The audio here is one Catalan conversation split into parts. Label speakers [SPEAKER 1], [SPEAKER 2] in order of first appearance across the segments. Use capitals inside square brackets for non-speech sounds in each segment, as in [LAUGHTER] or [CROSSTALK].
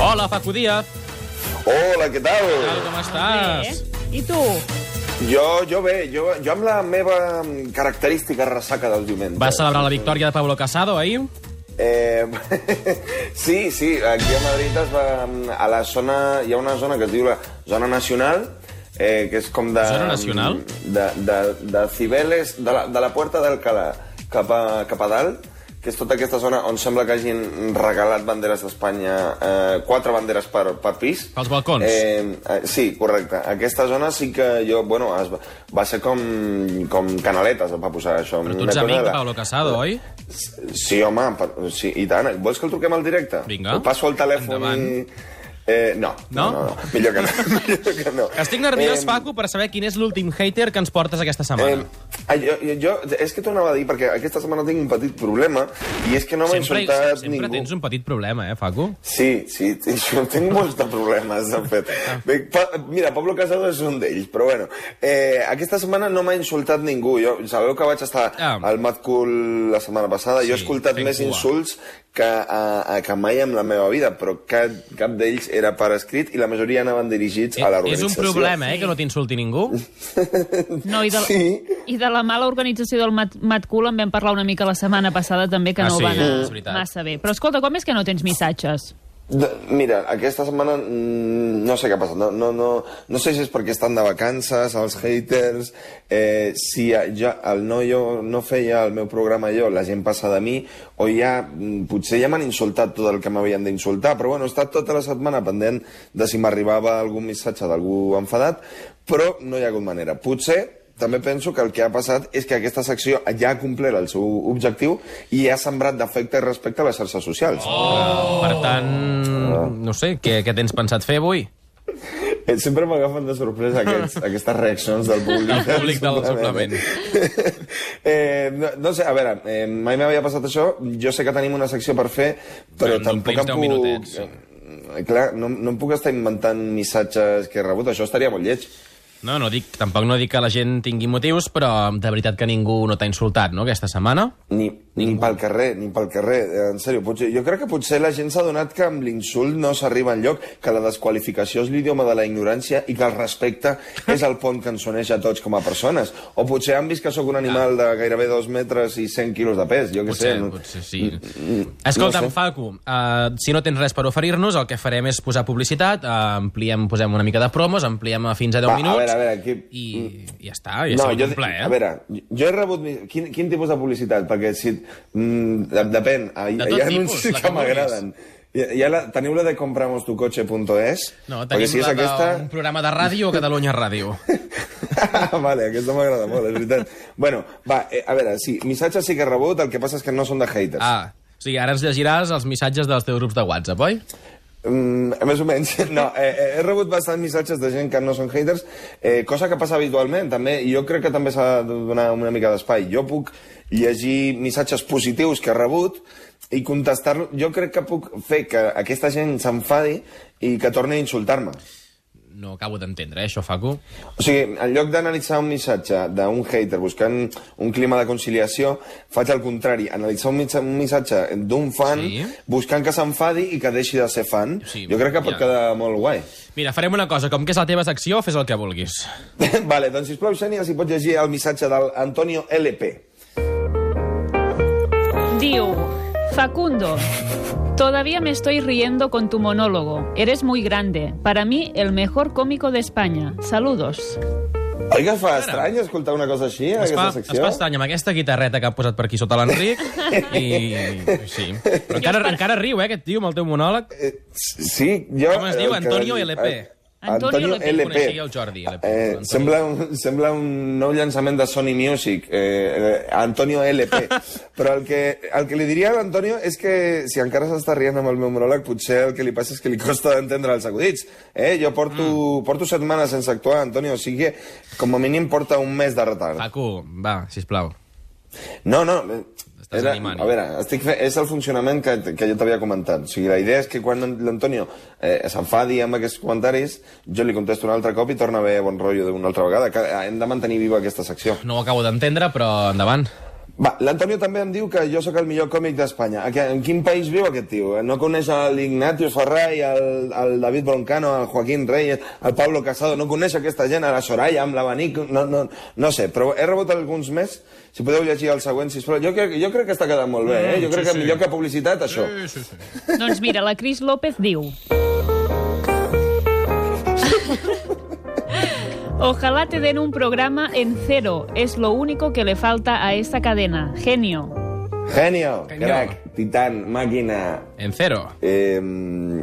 [SPEAKER 1] Hola, Facu Díaz.
[SPEAKER 2] Hola, què tal?
[SPEAKER 1] Què Tal, com estàs?
[SPEAKER 3] eh? I tu?
[SPEAKER 2] Jo, jo bé, jo, jo amb la meva característica ressaca del diumenge.
[SPEAKER 1] Vas celebrar la victòria de Pablo Casado ahir?
[SPEAKER 2] Eh, [LAUGHS] sí, sí, aquí a Madrid es va, a la zona, hi ha una zona que es diu la zona nacional, eh, que és com de...
[SPEAKER 1] Zona nacional?
[SPEAKER 2] De, de, de Cibeles, de la, de la Puerta d'Alcalà cap, a, cap a dalt, que és tota aquesta zona on sembla que hagin regalat banderes d'Espanya, eh, quatre banderes per, per pis.
[SPEAKER 1] Pels balcons.
[SPEAKER 2] Eh, eh, sí, correcte. Aquesta zona sí que jo, bueno, es va, va ser com, com canaletes, el va posar això.
[SPEAKER 1] Però tu
[SPEAKER 2] Una
[SPEAKER 1] ets
[SPEAKER 2] cosa
[SPEAKER 1] amic
[SPEAKER 2] de
[SPEAKER 1] de
[SPEAKER 2] la-
[SPEAKER 1] Pablo Casado, oi?
[SPEAKER 2] Sí, home, per, sí, i tant. Vols que el truquem al directe?
[SPEAKER 1] Vinga.
[SPEAKER 2] O passo el telèfon...
[SPEAKER 1] Endavant.
[SPEAKER 2] Eh, no,
[SPEAKER 1] No?
[SPEAKER 2] no, no, no, millor que no. [LAUGHS] millor que no.
[SPEAKER 1] Estic nerviós,
[SPEAKER 2] Em,
[SPEAKER 1] Facu, per saber quin és l'últim hater que ens portes aquesta setmana.
[SPEAKER 2] Eh, jo, jo, jo, és que t'ho anava a dir, perquè aquesta setmana tinc un petit problema, i és que no m'ha
[SPEAKER 1] sempre
[SPEAKER 2] insultat
[SPEAKER 1] sempre
[SPEAKER 2] ningú.
[SPEAKER 1] tens un petit problema, eh, Facu?
[SPEAKER 2] Sí, sí, [LAUGHS] t- jo tinc molts de problemes, de fet. Bé, pa, mira, Pablo Casado és un d'ells, però bueno. Eh, aquesta setmana no m'ha insultat ningú. Jo, sabeu que vaig estar
[SPEAKER 1] Ah.
[SPEAKER 2] al Mad Cool la setmana passada. jo he
[SPEAKER 1] Sí,
[SPEAKER 2] escoltat
[SPEAKER 1] fent
[SPEAKER 2] més
[SPEAKER 1] cua.
[SPEAKER 2] insults que, a, a, que mai en la meva vida, però cap, cap d'ells era per escrit i la majoria anaven dirigits a la
[SPEAKER 1] Eh, És un problema, eh, que no t'insulti ningú.
[SPEAKER 3] No, i de,
[SPEAKER 2] Sí.
[SPEAKER 3] i de la mala organització del Mat Matcul en vam parlar una mica la setmana passada també, que
[SPEAKER 1] Ah,
[SPEAKER 3] no
[SPEAKER 1] sí,
[SPEAKER 3] va
[SPEAKER 1] és
[SPEAKER 3] anar
[SPEAKER 1] veritat.
[SPEAKER 3] massa bé. Però escolta, com és que no tens missatges?
[SPEAKER 2] D- Mira, aquesta setmana mm, no sé què ha passat. No, no, no, no sé si és perquè estan de vacances, els haters, eh, si ja, ja el no, jo, no feia el meu programa jo, la gent passa de mi, o ja, mm, potser ja m'han insultat tot el que m'havien d'insultar, però bueno, he estat tota la setmana pendent de si m'arribava algun missatge d'algú enfadat, però no hi ha hagut manera. Potser també penso que el que ha passat és que aquesta secció ja ha complert el seu objectiu i ha sembrat d'afecte i respecte a les xarxes socials.
[SPEAKER 1] Per tant, no sé, què, què tens pensat fer avui?
[SPEAKER 2] Eh, [LAUGHS] Sempre m'agafen de sorpresa
[SPEAKER 1] [LAUGHS]
[SPEAKER 2] aquests, aquestes reaccions del públic.
[SPEAKER 1] El públic del suplement.
[SPEAKER 2] [LAUGHS] eh, no, no sé, a veure, eh, mai m'havia passat això. Jo sé que tenim una secció per fer, però
[SPEAKER 1] Bueno,
[SPEAKER 2] tampoc
[SPEAKER 1] n'omplim
[SPEAKER 2] em
[SPEAKER 1] deu
[SPEAKER 2] puc...
[SPEAKER 1] minutets.
[SPEAKER 2] Eh, Clar, no, no em puc estar inventant missatges que he rebut. Això estaria molt lleig.
[SPEAKER 1] No, no dic, tampoc no dic que la gent tingui motius, però de veritat que ningú no t'ha insultat, no?, aquesta setmana.
[SPEAKER 2] Ni, ni pel carrer, ni pel carrer. Eh, En sèrio, potser, jo crec que potser la gent s'ha donat que amb l'insult no s'arriba enlloc, que la desqualificació és l'idioma de la ignorància i que el respecte és el pont que ens uneix a tots com a persones. O potser han vist que sóc un animal de gairebé dos metres i 100 quilos de pes, jo què sé.
[SPEAKER 1] Ah. Potser, potser sí. Escolta'm,
[SPEAKER 2] Mm, no sé.
[SPEAKER 1] Facu, uh, si no tens res per oferir-nos, el que farem és posar publicitat, uh, ampliem, posem una mica de promos, ampliem a fins a 10
[SPEAKER 2] Va, a
[SPEAKER 1] minuts...
[SPEAKER 2] veure, a veure, aquí-
[SPEAKER 1] I, i ja està, ja no, ha sigut un plaer. eh?
[SPEAKER 2] a veure, jo he rebut... mi- Quin, quin tipus de publicitat? Perquè si... Mm, de- depèn. Hi,
[SPEAKER 1] De tot
[SPEAKER 2] hi ha
[SPEAKER 1] tipus,
[SPEAKER 2] anuncis
[SPEAKER 1] la que
[SPEAKER 2] que
[SPEAKER 1] vulguis.
[SPEAKER 2] m'agraden. Ja, ja la, teniu la de compramostucoche.es?
[SPEAKER 1] No,
[SPEAKER 2] Perquè
[SPEAKER 1] tenim
[SPEAKER 2] si és
[SPEAKER 1] la
[SPEAKER 2] aquesta...
[SPEAKER 1] d'un programa de ràdio a Catalunya
[SPEAKER 2] [LAUGHS]
[SPEAKER 1] Ràdio.
[SPEAKER 2] Ah, [LAUGHS] vale, aquesta m'agrada molt, és veritat. bueno, va, eh, a veure, sí, missatges sí que he rebut, el que passa és que no són de haters.
[SPEAKER 1] Ah, o sigui, ara ens llegiràs els missatges dels teus grups de WhatsApp, oi?
[SPEAKER 2] Mm, més o menys, [LAUGHS] no, eh, eh, he rebut bastants missatges de gent que no són haters, eh, cosa que passa habitualment, també, i jo crec que també s'ha de donar una mica d'espai. Jo puc llegir missatges positius que he rebut i contestar-los. Jo crec que puc fer que aquesta gent s'enfadi i que torni a insultar-me.
[SPEAKER 1] No acabo d'entendre, eh, això, Facu.
[SPEAKER 2] O sigui, en lloc d'analitzar un missatge d'un hater buscant un clima de conciliació, faig el contrari, analitzar un mitja- un missatge d'un fan
[SPEAKER 1] Sí.
[SPEAKER 2] sí. buscant que s'enfadi i que deixi de ser fan.
[SPEAKER 1] Sí,
[SPEAKER 2] Sí, jo crec que pot
[SPEAKER 1] ja.
[SPEAKER 2] ja. quedar molt guai. [LAUGHS]
[SPEAKER 1] Mira, farem una cosa, com que és la teva secció, fes el que vulguis.
[SPEAKER 2] vale, doncs sisplau, Xènia, si pots llegir el missatge del Antonio LP.
[SPEAKER 3] Diu, Facundo, todavía me estoy riendo con tu monólogo. Eres muy grande. Para mí, el mejor cómico de España. Saludos.
[SPEAKER 2] Oi que es fa estrany escoltar una cosa així, en
[SPEAKER 1] Es fa,
[SPEAKER 2] aquesta
[SPEAKER 1] es
[SPEAKER 2] secció?
[SPEAKER 1] fa estrany amb aquesta guitarreta que ha posat per aquí sota l'Enric. I... Sí. Però encara, encara riu, eh, aquest tio, amb el teu monòleg.
[SPEAKER 2] Eh, sí, jo...
[SPEAKER 1] Com es diu?
[SPEAKER 2] el que- Ah,
[SPEAKER 1] Antonio LP.
[SPEAKER 2] Antonio,
[SPEAKER 3] Antonio LP.
[SPEAKER 2] LP.
[SPEAKER 1] Coneixia el Jordi, LP.
[SPEAKER 2] Eh,
[SPEAKER 1] Antonio.
[SPEAKER 2] sembla, un, sembla un nou llançament de Sony Music, eh, eh, Antonio
[SPEAKER 1] [LAUGHS]
[SPEAKER 2] LP. Però el que, el que li diria a l'Antonio és que, si encara s'està rient amb el meu monòleg, potser el que li passa és que li costa d'entendre els acudits. Eh? Jo porto, mm. porto setmanes sense actuar, Antonio, o sigui que com a mínim porta un mes de retard.
[SPEAKER 1] Facu, va, sisplau.
[SPEAKER 2] No, no. eh,
[SPEAKER 1] Estàs animant.
[SPEAKER 2] a veure, estic fe... és el funcionament que, que jo t'havia comentat. O sigui, la idea és que quan l'Antonio eh, s'enfadi amb aquests comentaris, jo li contesto un altre cop i torna a haver bon rotllo d'una altra vegada. Que eh, hem de mantenir viva aquesta secció.
[SPEAKER 1] No ho acabo d'entendre, però endavant.
[SPEAKER 2] Va, l'Antonio també em diu que jo sóc el millor còmic d'Espanya. A que- En quin país viu aquest tio? Eh, No coneix l'Ignatius Ferrer, i el, el David Broncano, el Joaquín Reyes, el Pablo Casado, no coneix aquesta gent, a la Soraya, amb l'abanic, no, no, no sé, però he rebut alguns més, si podeu llegir el següent, sisplau. Jo, crec, jo crec que està quedant molt bé, eh? Jo crec que millor que publicitat, això.
[SPEAKER 1] Mm, Sí, sí, sí.
[SPEAKER 3] Doncs mira, la Cris López diu... Ojalá te den un programa en cero. Es lo único que le falta a esta cadena. Genio.
[SPEAKER 2] Genio,
[SPEAKER 1] Genio.
[SPEAKER 2] crack, titán, màquina,
[SPEAKER 1] En cero.
[SPEAKER 2] Eh,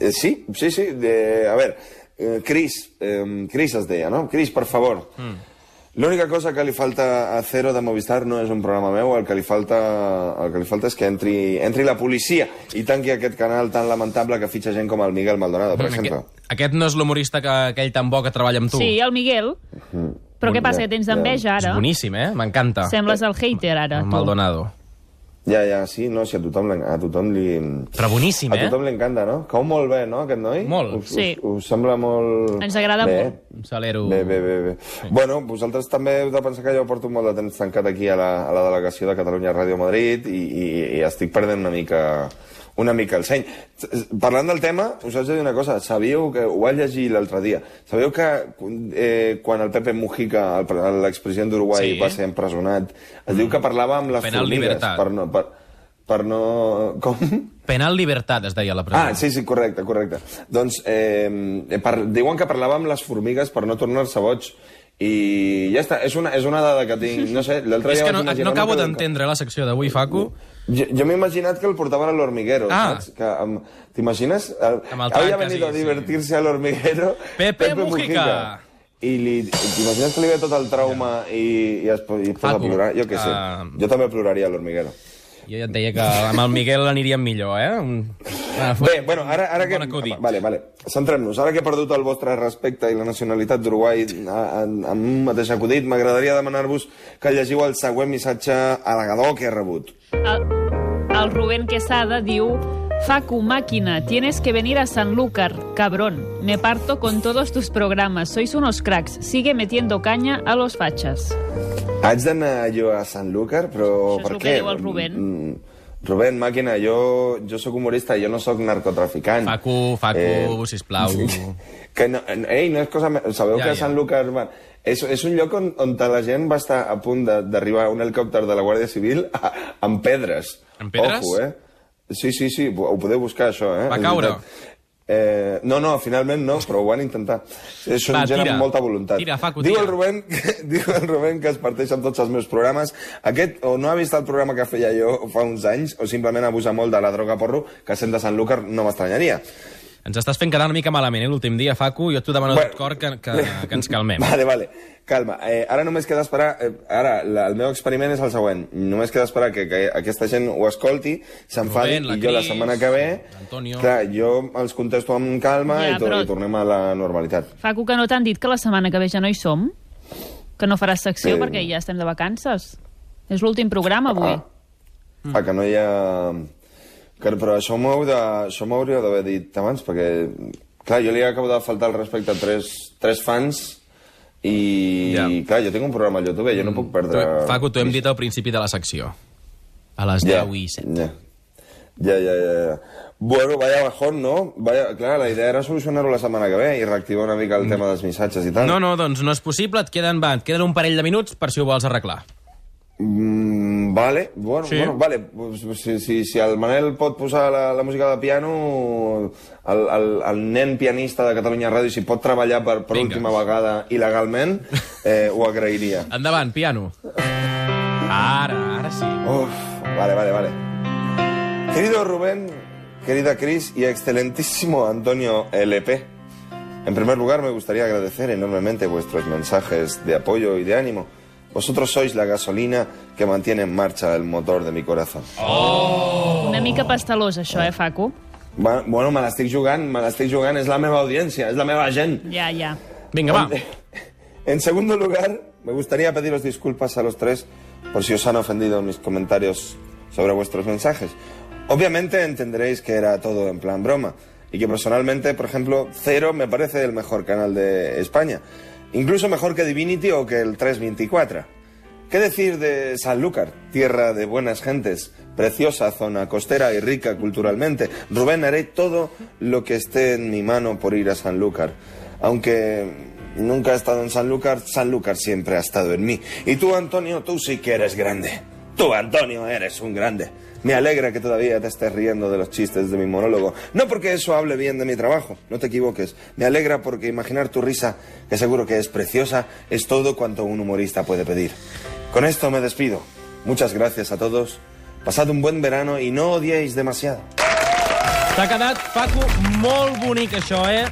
[SPEAKER 2] eh, sí, sí, sí. De, a ver, eh, Chris, eh, Chris es deia, no? Chris, per favor.
[SPEAKER 1] Mm.
[SPEAKER 2] L'única cosa que li falta a Cero de Movistar no és un programa meu, el que li falta, el que li falta és que entri, entri la policia i tanqui aquest canal tan lamentable que fitxa gent com el Miguel Maldonado, per exemple.
[SPEAKER 1] Mm, Aquest, aquest no és l'humorista que aquell tan bo que treballa amb tu.
[SPEAKER 3] Sí, el Miguel. Però què
[SPEAKER 2] Molt
[SPEAKER 3] passa,
[SPEAKER 2] bé,
[SPEAKER 3] que tens
[SPEAKER 2] ja.
[SPEAKER 3] d'enveja
[SPEAKER 1] És Em
[SPEAKER 3] ara?
[SPEAKER 1] boníssim, eh? M'encanta.
[SPEAKER 3] Sembles el hater ara,
[SPEAKER 1] El
[SPEAKER 3] tu.
[SPEAKER 1] Maldonado.
[SPEAKER 2] Ja, ja, sí, no, si a tothom, l'en- a tothom li...
[SPEAKER 1] Però boníssim,
[SPEAKER 2] A
[SPEAKER 1] eh?
[SPEAKER 2] tothom li encanta, no? Cau molt bé, no, aquest noi?
[SPEAKER 1] Molt.
[SPEAKER 2] Us,
[SPEAKER 3] Sí.
[SPEAKER 2] us, us sembla molt...
[SPEAKER 3] Ens agrada
[SPEAKER 2] bé.
[SPEAKER 3] molt.
[SPEAKER 1] Un salero...
[SPEAKER 2] Bé, bé, bé. bé. Bueno, vosaltres també heu de pensar que jo porto molt de temps tancat aquí a la, a la delegació de Catalunya Ràdio Madrid i, i, i estic perdent una mica una mica el seny. S- Parlant del tema, us haig de dir una cosa. Sabíeu que... Ho vaig llegir l'altre dia. Sabíeu que eh, quan el Pepe Mujica, el pre- l'expresident d'Uruguai,
[SPEAKER 1] Sí.
[SPEAKER 2] va ser empresonat, es diu que parlava amb les
[SPEAKER 1] Penal
[SPEAKER 2] formigues
[SPEAKER 1] libertad.
[SPEAKER 2] per no... Per, per no... Com?
[SPEAKER 1] Penal Libertat es deia la presó.
[SPEAKER 2] Ah, sí, sí, correcte, correcte. Doncs eh, eh, par... diuen que parlàvem amb les formigues per no tornar-se boig. I ja està, és una, és una dada que tinc, no sé, l'altre
[SPEAKER 1] [LAUGHS] És
[SPEAKER 2] dia
[SPEAKER 1] que
[SPEAKER 2] vaig
[SPEAKER 1] no, no
[SPEAKER 2] imaginar-me
[SPEAKER 1] acabo
[SPEAKER 2] que-
[SPEAKER 1] d'entendre la secció d'avui, Facu.
[SPEAKER 2] Jo, jo m'he imaginat que el portaven a l'hormiguero,
[SPEAKER 1] Ah.
[SPEAKER 2] saps? Que, um, T'imagines? El...
[SPEAKER 1] Amb el
[SPEAKER 2] Había
[SPEAKER 1] tanc, sí,
[SPEAKER 2] venido a
[SPEAKER 1] sí.
[SPEAKER 2] divertirse al hormiguero
[SPEAKER 1] Pepe Mujica.
[SPEAKER 2] I li... t'imagines que li ve tot el trauma i, i es, po- i es posa a
[SPEAKER 1] Facu,
[SPEAKER 2] plorar? Jo què sé,
[SPEAKER 1] ah.
[SPEAKER 2] jo també ploraria a l'hormiguero.
[SPEAKER 1] Jo ja et deia que amb el Miguel aniríem millor, eh? Un... Ah,
[SPEAKER 2] Bé, bueno, ara, ara que...
[SPEAKER 1] Bon acudit.
[SPEAKER 2] Vale, vale. Centrem-nos. Ara que he perdut el vostre respecte i la nacionalitat d'Uruguai en, en un mateix acudit, m'agradaria demanar-vos que llegiu el següent missatge al·legador que he rebut.
[SPEAKER 3] El, el Rubén Quesada diu... Facu, máquina, tienes que venir a Sanlúcar, cabrón. Me parto con todos tus programas. Sois unos cracks. Sigue metiendo caña a los fachas.
[SPEAKER 2] Haig d'anar jo a Sanlúcar, però
[SPEAKER 3] Això és
[SPEAKER 2] per
[SPEAKER 3] el que
[SPEAKER 2] què?
[SPEAKER 3] diu el Rubén.
[SPEAKER 2] Mm, Rubén, màquina, jo, jo sóc humorista, jo no sóc narcotraficant.
[SPEAKER 1] Facu, Facu,
[SPEAKER 2] Eh,
[SPEAKER 1] sisplau.
[SPEAKER 2] Que no, ei, no és cosa... me- Sabeu
[SPEAKER 1] Ja,
[SPEAKER 2] que
[SPEAKER 1] ja.
[SPEAKER 2] Sanlúcar... va- És, és un lloc on, on la gent va estar a punt de- d'arribar un helicòpter de la Guàrdia Civil a, amb pedres.
[SPEAKER 1] Amb pedres?
[SPEAKER 2] Ojo, eh? Sí, sí, sí, ho podeu buscar, això, eh?
[SPEAKER 1] Va
[SPEAKER 2] És
[SPEAKER 1] caure?
[SPEAKER 2] veritat. Eh, no, no, finalment no, però ho van intentar. És una
[SPEAKER 1] Va,
[SPEAKER 2] gent
[SPEAKER 1] tira.
[SPEAKER 2] amb molta voluntat.
[SPEAKER 1] Tira, Facu,
[SPEAKER 2] diu, el
[SPEAKER 1] tira.
[SPEAKER 2] Rubén, que, [LAUGHS] diu el Rubén que es parteix amb tots els meus programes. Aquest o no ha vist el programa que feia jo fa uns anys o simplement abusa molt de la droga porro que sent de Sanlúcar no m'estranyaria.
[SPEAKER 1] Ens estàs fent quedar una mica malament, eh, l'últim dia, Facu. Jo t'ho demano de tot cor que, que, que ens calmem.
[SPEAKER 2] Vale, vale. Calma, eh, ara només queda esperar... Eh, ara, la, el meu experiment és el següent. Només queda esperar que, que aquesta gent ho escolti, s'enfadi,
[SPEAKER 1] Rubén, la
[SPEAKER 2] i jo la
[SPEAKER 1] Cris,
[SPEAKER 2] setmana que ve...
[SPEAKER 1] l'Antonio.
[SPEAKER 2] Clar, jo els contesto amb calma
[SPEAKER 3] Ja,
[SPEAKER 2] i, tor
[SPEAKER 3] però-
[SPEAKER 2] i tornem a la normalitat.
[SPEAKER 3] Facu, que no t'han dit que la setmana que ve ja no hi som? Que no faràs secció
[SPEAKER 2] Eh.
[SPEAKER 3] perquè ja estem de vacances? És l'últim programa avui.
[SPEAKER 2] Ah. Ah, que no hi ha... Que, però això m'ho heu de- això m'ho hauríeu d'haver dit abans, perquè... Clar, jo li acabo de faltar el respecte a tres, tres fans i,
[SPEAKER 1] Ja.
[SPEAKER 2] i clar, jo tinc un programa a YouTube, jo no puc
[SPEAKER 1] Tu,
[SPEAKER 2] perdre...
[SPEAKER 1] Facu, t'ho hem dit al principi de la secció. A les 10 i 7.
[SPEAKER 2] Ya. Ya, ya, ya, ya. Bueno, vaya bajón, ¿no? Vaya, clar, la idea era solucionar-ho la setmana que ve i reactivar una mica el tema dels missatges i tal.
[SPEAKER 1] Mm. No, no, doncs no és possible, et queden, va, et queden un parell de minuts per si ho vols arreglar.
[SPEAKER 2] Mm, vale, bueno,
[SPEAKER 1] Sí.
[SPEAKER 2] bueno, vale. Pues, Si, si, si el Manel pot posar la, la música de piano, el, el, el nen pianista de Catalunya Ràdio, si pot treballar per, per
[SPEAKER 1] Vinga.
[SPEAKER 2] última vegada
[SPEAKER 1] [LAUGHS]
[SPEAKER 2] il·legalment, eh, ho agrairia.
[SPEAKER 1] Endavant, piano. Ara, ara sí.
[SPEAKER 2] Uf, vale, vale, vale. Querido Rubén, querida Cris y excelentísimo Antonio LP, en primer lugar me gustaría agradecer enormemente vuestros mensajes de apoyo y de ánimo. Vosotros sois la gasolina que mantiene en marcha el motor de mi corazón.
[SPEAKER 3] Una mica pastelós, això, eh, Facu?
[SPEAKER 2] Va- Bueno, me l'estic jugant, me l'estic jugant, és la meva audiència, és la meva gent.
[SPEAKER 3] Ja, ja.
[SPEAKER 1] Vinga, va.
[SPEAKER 2] En segundo lugar, me gustaría pediros disculpas a los tres por si os han ofendido mis comentarios sobre vuestros mensajes. Obviamente entenderéis que era todo en plan broma y que personalmente, por ejemplo, Cero me parece el mejor canal de España, incluso mejor que Divinity o que el 324. ¿Qué decir de Sanlúcar, tierra de buenas gentes, preciosa zona costera y rica culturalmente? Rubén, haré todo lo que esté en mi mano por ir a Sanlúcar. Aunque nunca he estado en Sanlúcar, Sanlúcar siempre ha estado en mí. Y tú, Antonio, tú sí que eres grande. Tú, Antonio, eres un grande. Me alegra que todavía te estés riendo de los chistes de mi monólogo. No porque eso hable bien de mi trabajo, no te equivoques. Me alegra porque imaginar tu risa, que seguro que es preciosa, es todo cuanto un humorista puede pedir. Con esto me despido. Muchas gracias a todos. Pasad un buen verano y no odiéis demasiado.
[SPEAKER 1] T'ha quedat, Paco, molt bonic, això, eh?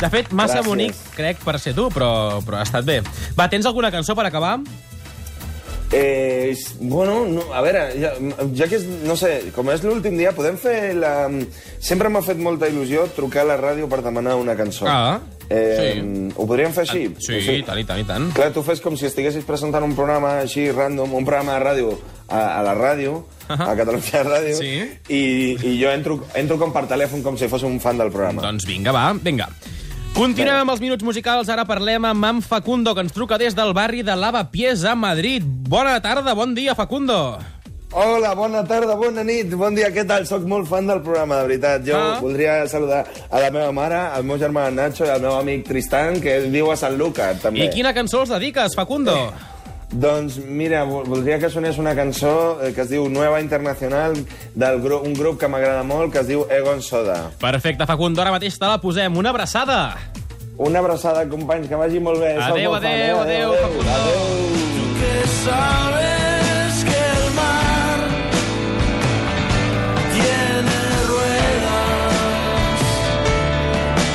[SPEAKER 1] De fet, massa
[SPEAKER 2] Gràcies.
[SPEAKER 1] bonic, crec, per ser tu, però, però ha estat bé. Va, tens alguna cançó per acabar?
[SPEAKER 2] Eh, bueno, no, a veure, ja, ja que és, no sé, com és l'últim dia, podem fer la... Sempre m'ha fet molta il·lusió trucar a la ràdio per demanar una cançó.
[SPEAKER 1] Ah,
[SPEAKER 2] eh,
[SPEAKER 1] sí. Ah,
[SPEAKER 2] Ho podríem fer així?
[SPEAKER 1] Sí, i tant, i tant, i tant.
[SPEAKER 2] Clar, tu fes com si estiguessis presentant un programa així random, un programa de ràdio a, a la ràdio, a Catalunya Ràdio,
[SPEAKER 1] Sí.
[SPEAKER 2] i, i jo entro, entro com per telèfon com si fos un fan del programa.
[SPEAKER 1] Doncs vinga, va, vinga. Continuem amb els minuts musicals. Ara parlem amb en Facundo, que ens truca des del barri de Lavapiés, a Madrid. Bona tarda, bon dia, Facundo.
[SPEAKER 2] Hola, bona tarda, bona nit, bon dia, què tal? Soc molt fan del programa, de veritat. Jo
[SPEAKER 1] Ah.
[SPEAKER 2] voldria saludar a la meva mare, al meu germà Nacho i al meu amic Tristan, que viu a Sant Luca, també.
[SPEAKER 1] I quina cançó els dediques, Facundo?
[SPEAKER 2] Doncs mira, vo- voldria que sonés una cançó eh, que es diu Nueva Internacional, del gru un grup que m'agrada molt, que es diu Egon Soda.
[SPEAKER 1] Perfecte, Facundo, ara mateix te la posem. Una abraçada.
[SPEAKER 2] Una abraçada, companys, que vagi molt bé. Sou
[SPEAKER 1] Adeu,
[SPEAKER 2] molt fan, eh?
[SPEAKER 1] adeu, adeu, Facundo.
[SPEAKER 4] que sabes que el mar tiene ruedas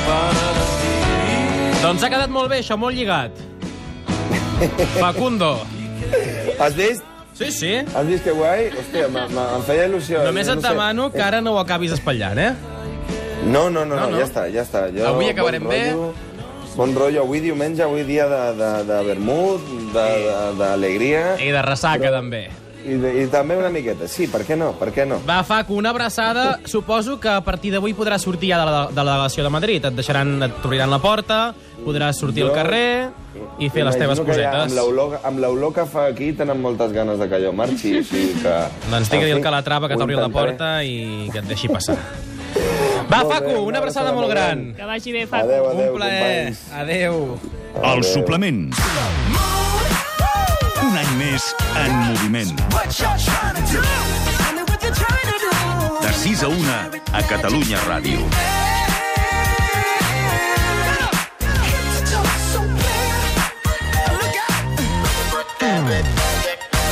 [SPEAKER 4] para ti.
[SPEAKER 1] Doncs ha quedat molt bé, això, molt lligat. Facundo.
[SPEAKER 2] Has vist?
[SPEAKER 1] Sí, sí.
[SPEAKER 2] Has vist que guai? Hòstia, m- m- em feia il·lusió.
[SPEAKER 1] Només
[SPEAKER 2] Jo
[SPEAKER 1] et
[SPEAKER 2] no sé.
[SPEAKER 1] demano que ara no ho acabis espatllant, eh?
[SPEAKER 2] No, no, no,
[SPEAKER 1] No,
[SPEAKER 2] no,
[SPEAKER 1] no.
[SPEAKER 2] ja està, ja està. Jo,
[SPEAKER 1] Avui acabarem
[SPEAKER 2] bon rotllo, Bon rotllo, avui diumenge, avui dia de, de, de vermut, de- de- d'alegria,
[SPEAKER 1] I de ressaca, també.
[SPEAKER 2] i, de- i també una miqueta. Sí, per què no, per què no?
[SPEAKER 1] Va, Facu, una abraçada. Suposo que a partir d'avui podràs sortir ja de la, de la delegació de Madrid. Et deixaran, et t'obriran la porta, podràs sortir al
[SPEAKER 2] Jo-
[SPEAKER 1] carrer i fer les teves
[SPEAKER 2] Imagino que ja
[SPEAKER 1] cosetes.
[SPEAKER 2] Amb l'olor- amb l'olor que fa aquí tenen moltes ganes de que jo marxi, o sigui que...
[SPEAKER 1] Doncs tinc que dir
[SPEAKER 2] en
[SPEAKER 1] al
[SPEAKER 2] fi,
[SPEAKER 1] Calatrava que
[SPEAKER 2] ho
[SPEAKER 1] t'obri la
[SPEAKER 2] intentaré.
[SPEAKER 1] porta i que et deixi passar. Va,
[SPEAKER 2] Molt bé,
[SPEAKER 1] Facu, una abraçada molt gran.
[SPEAKER 3] Que vagi bé, Facu.
[SPEAKER 2] Adeu, adeu,
[SPEAKER 1] Un plaer.
[SPEAKER 2] companys.
[SPEAKER 1] Adeu.
[SPEAKER 5] El suplement. Un any més en moviment.
[SPEAKER 4] What you're trying to do. Tell me what you're trying to do.
[SPEAKER 5] De 6 a 1 a Catalunya Ràdio.
[SPEAKER 4] Head to toe, so clear.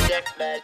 [SPEAKER 4] Look out.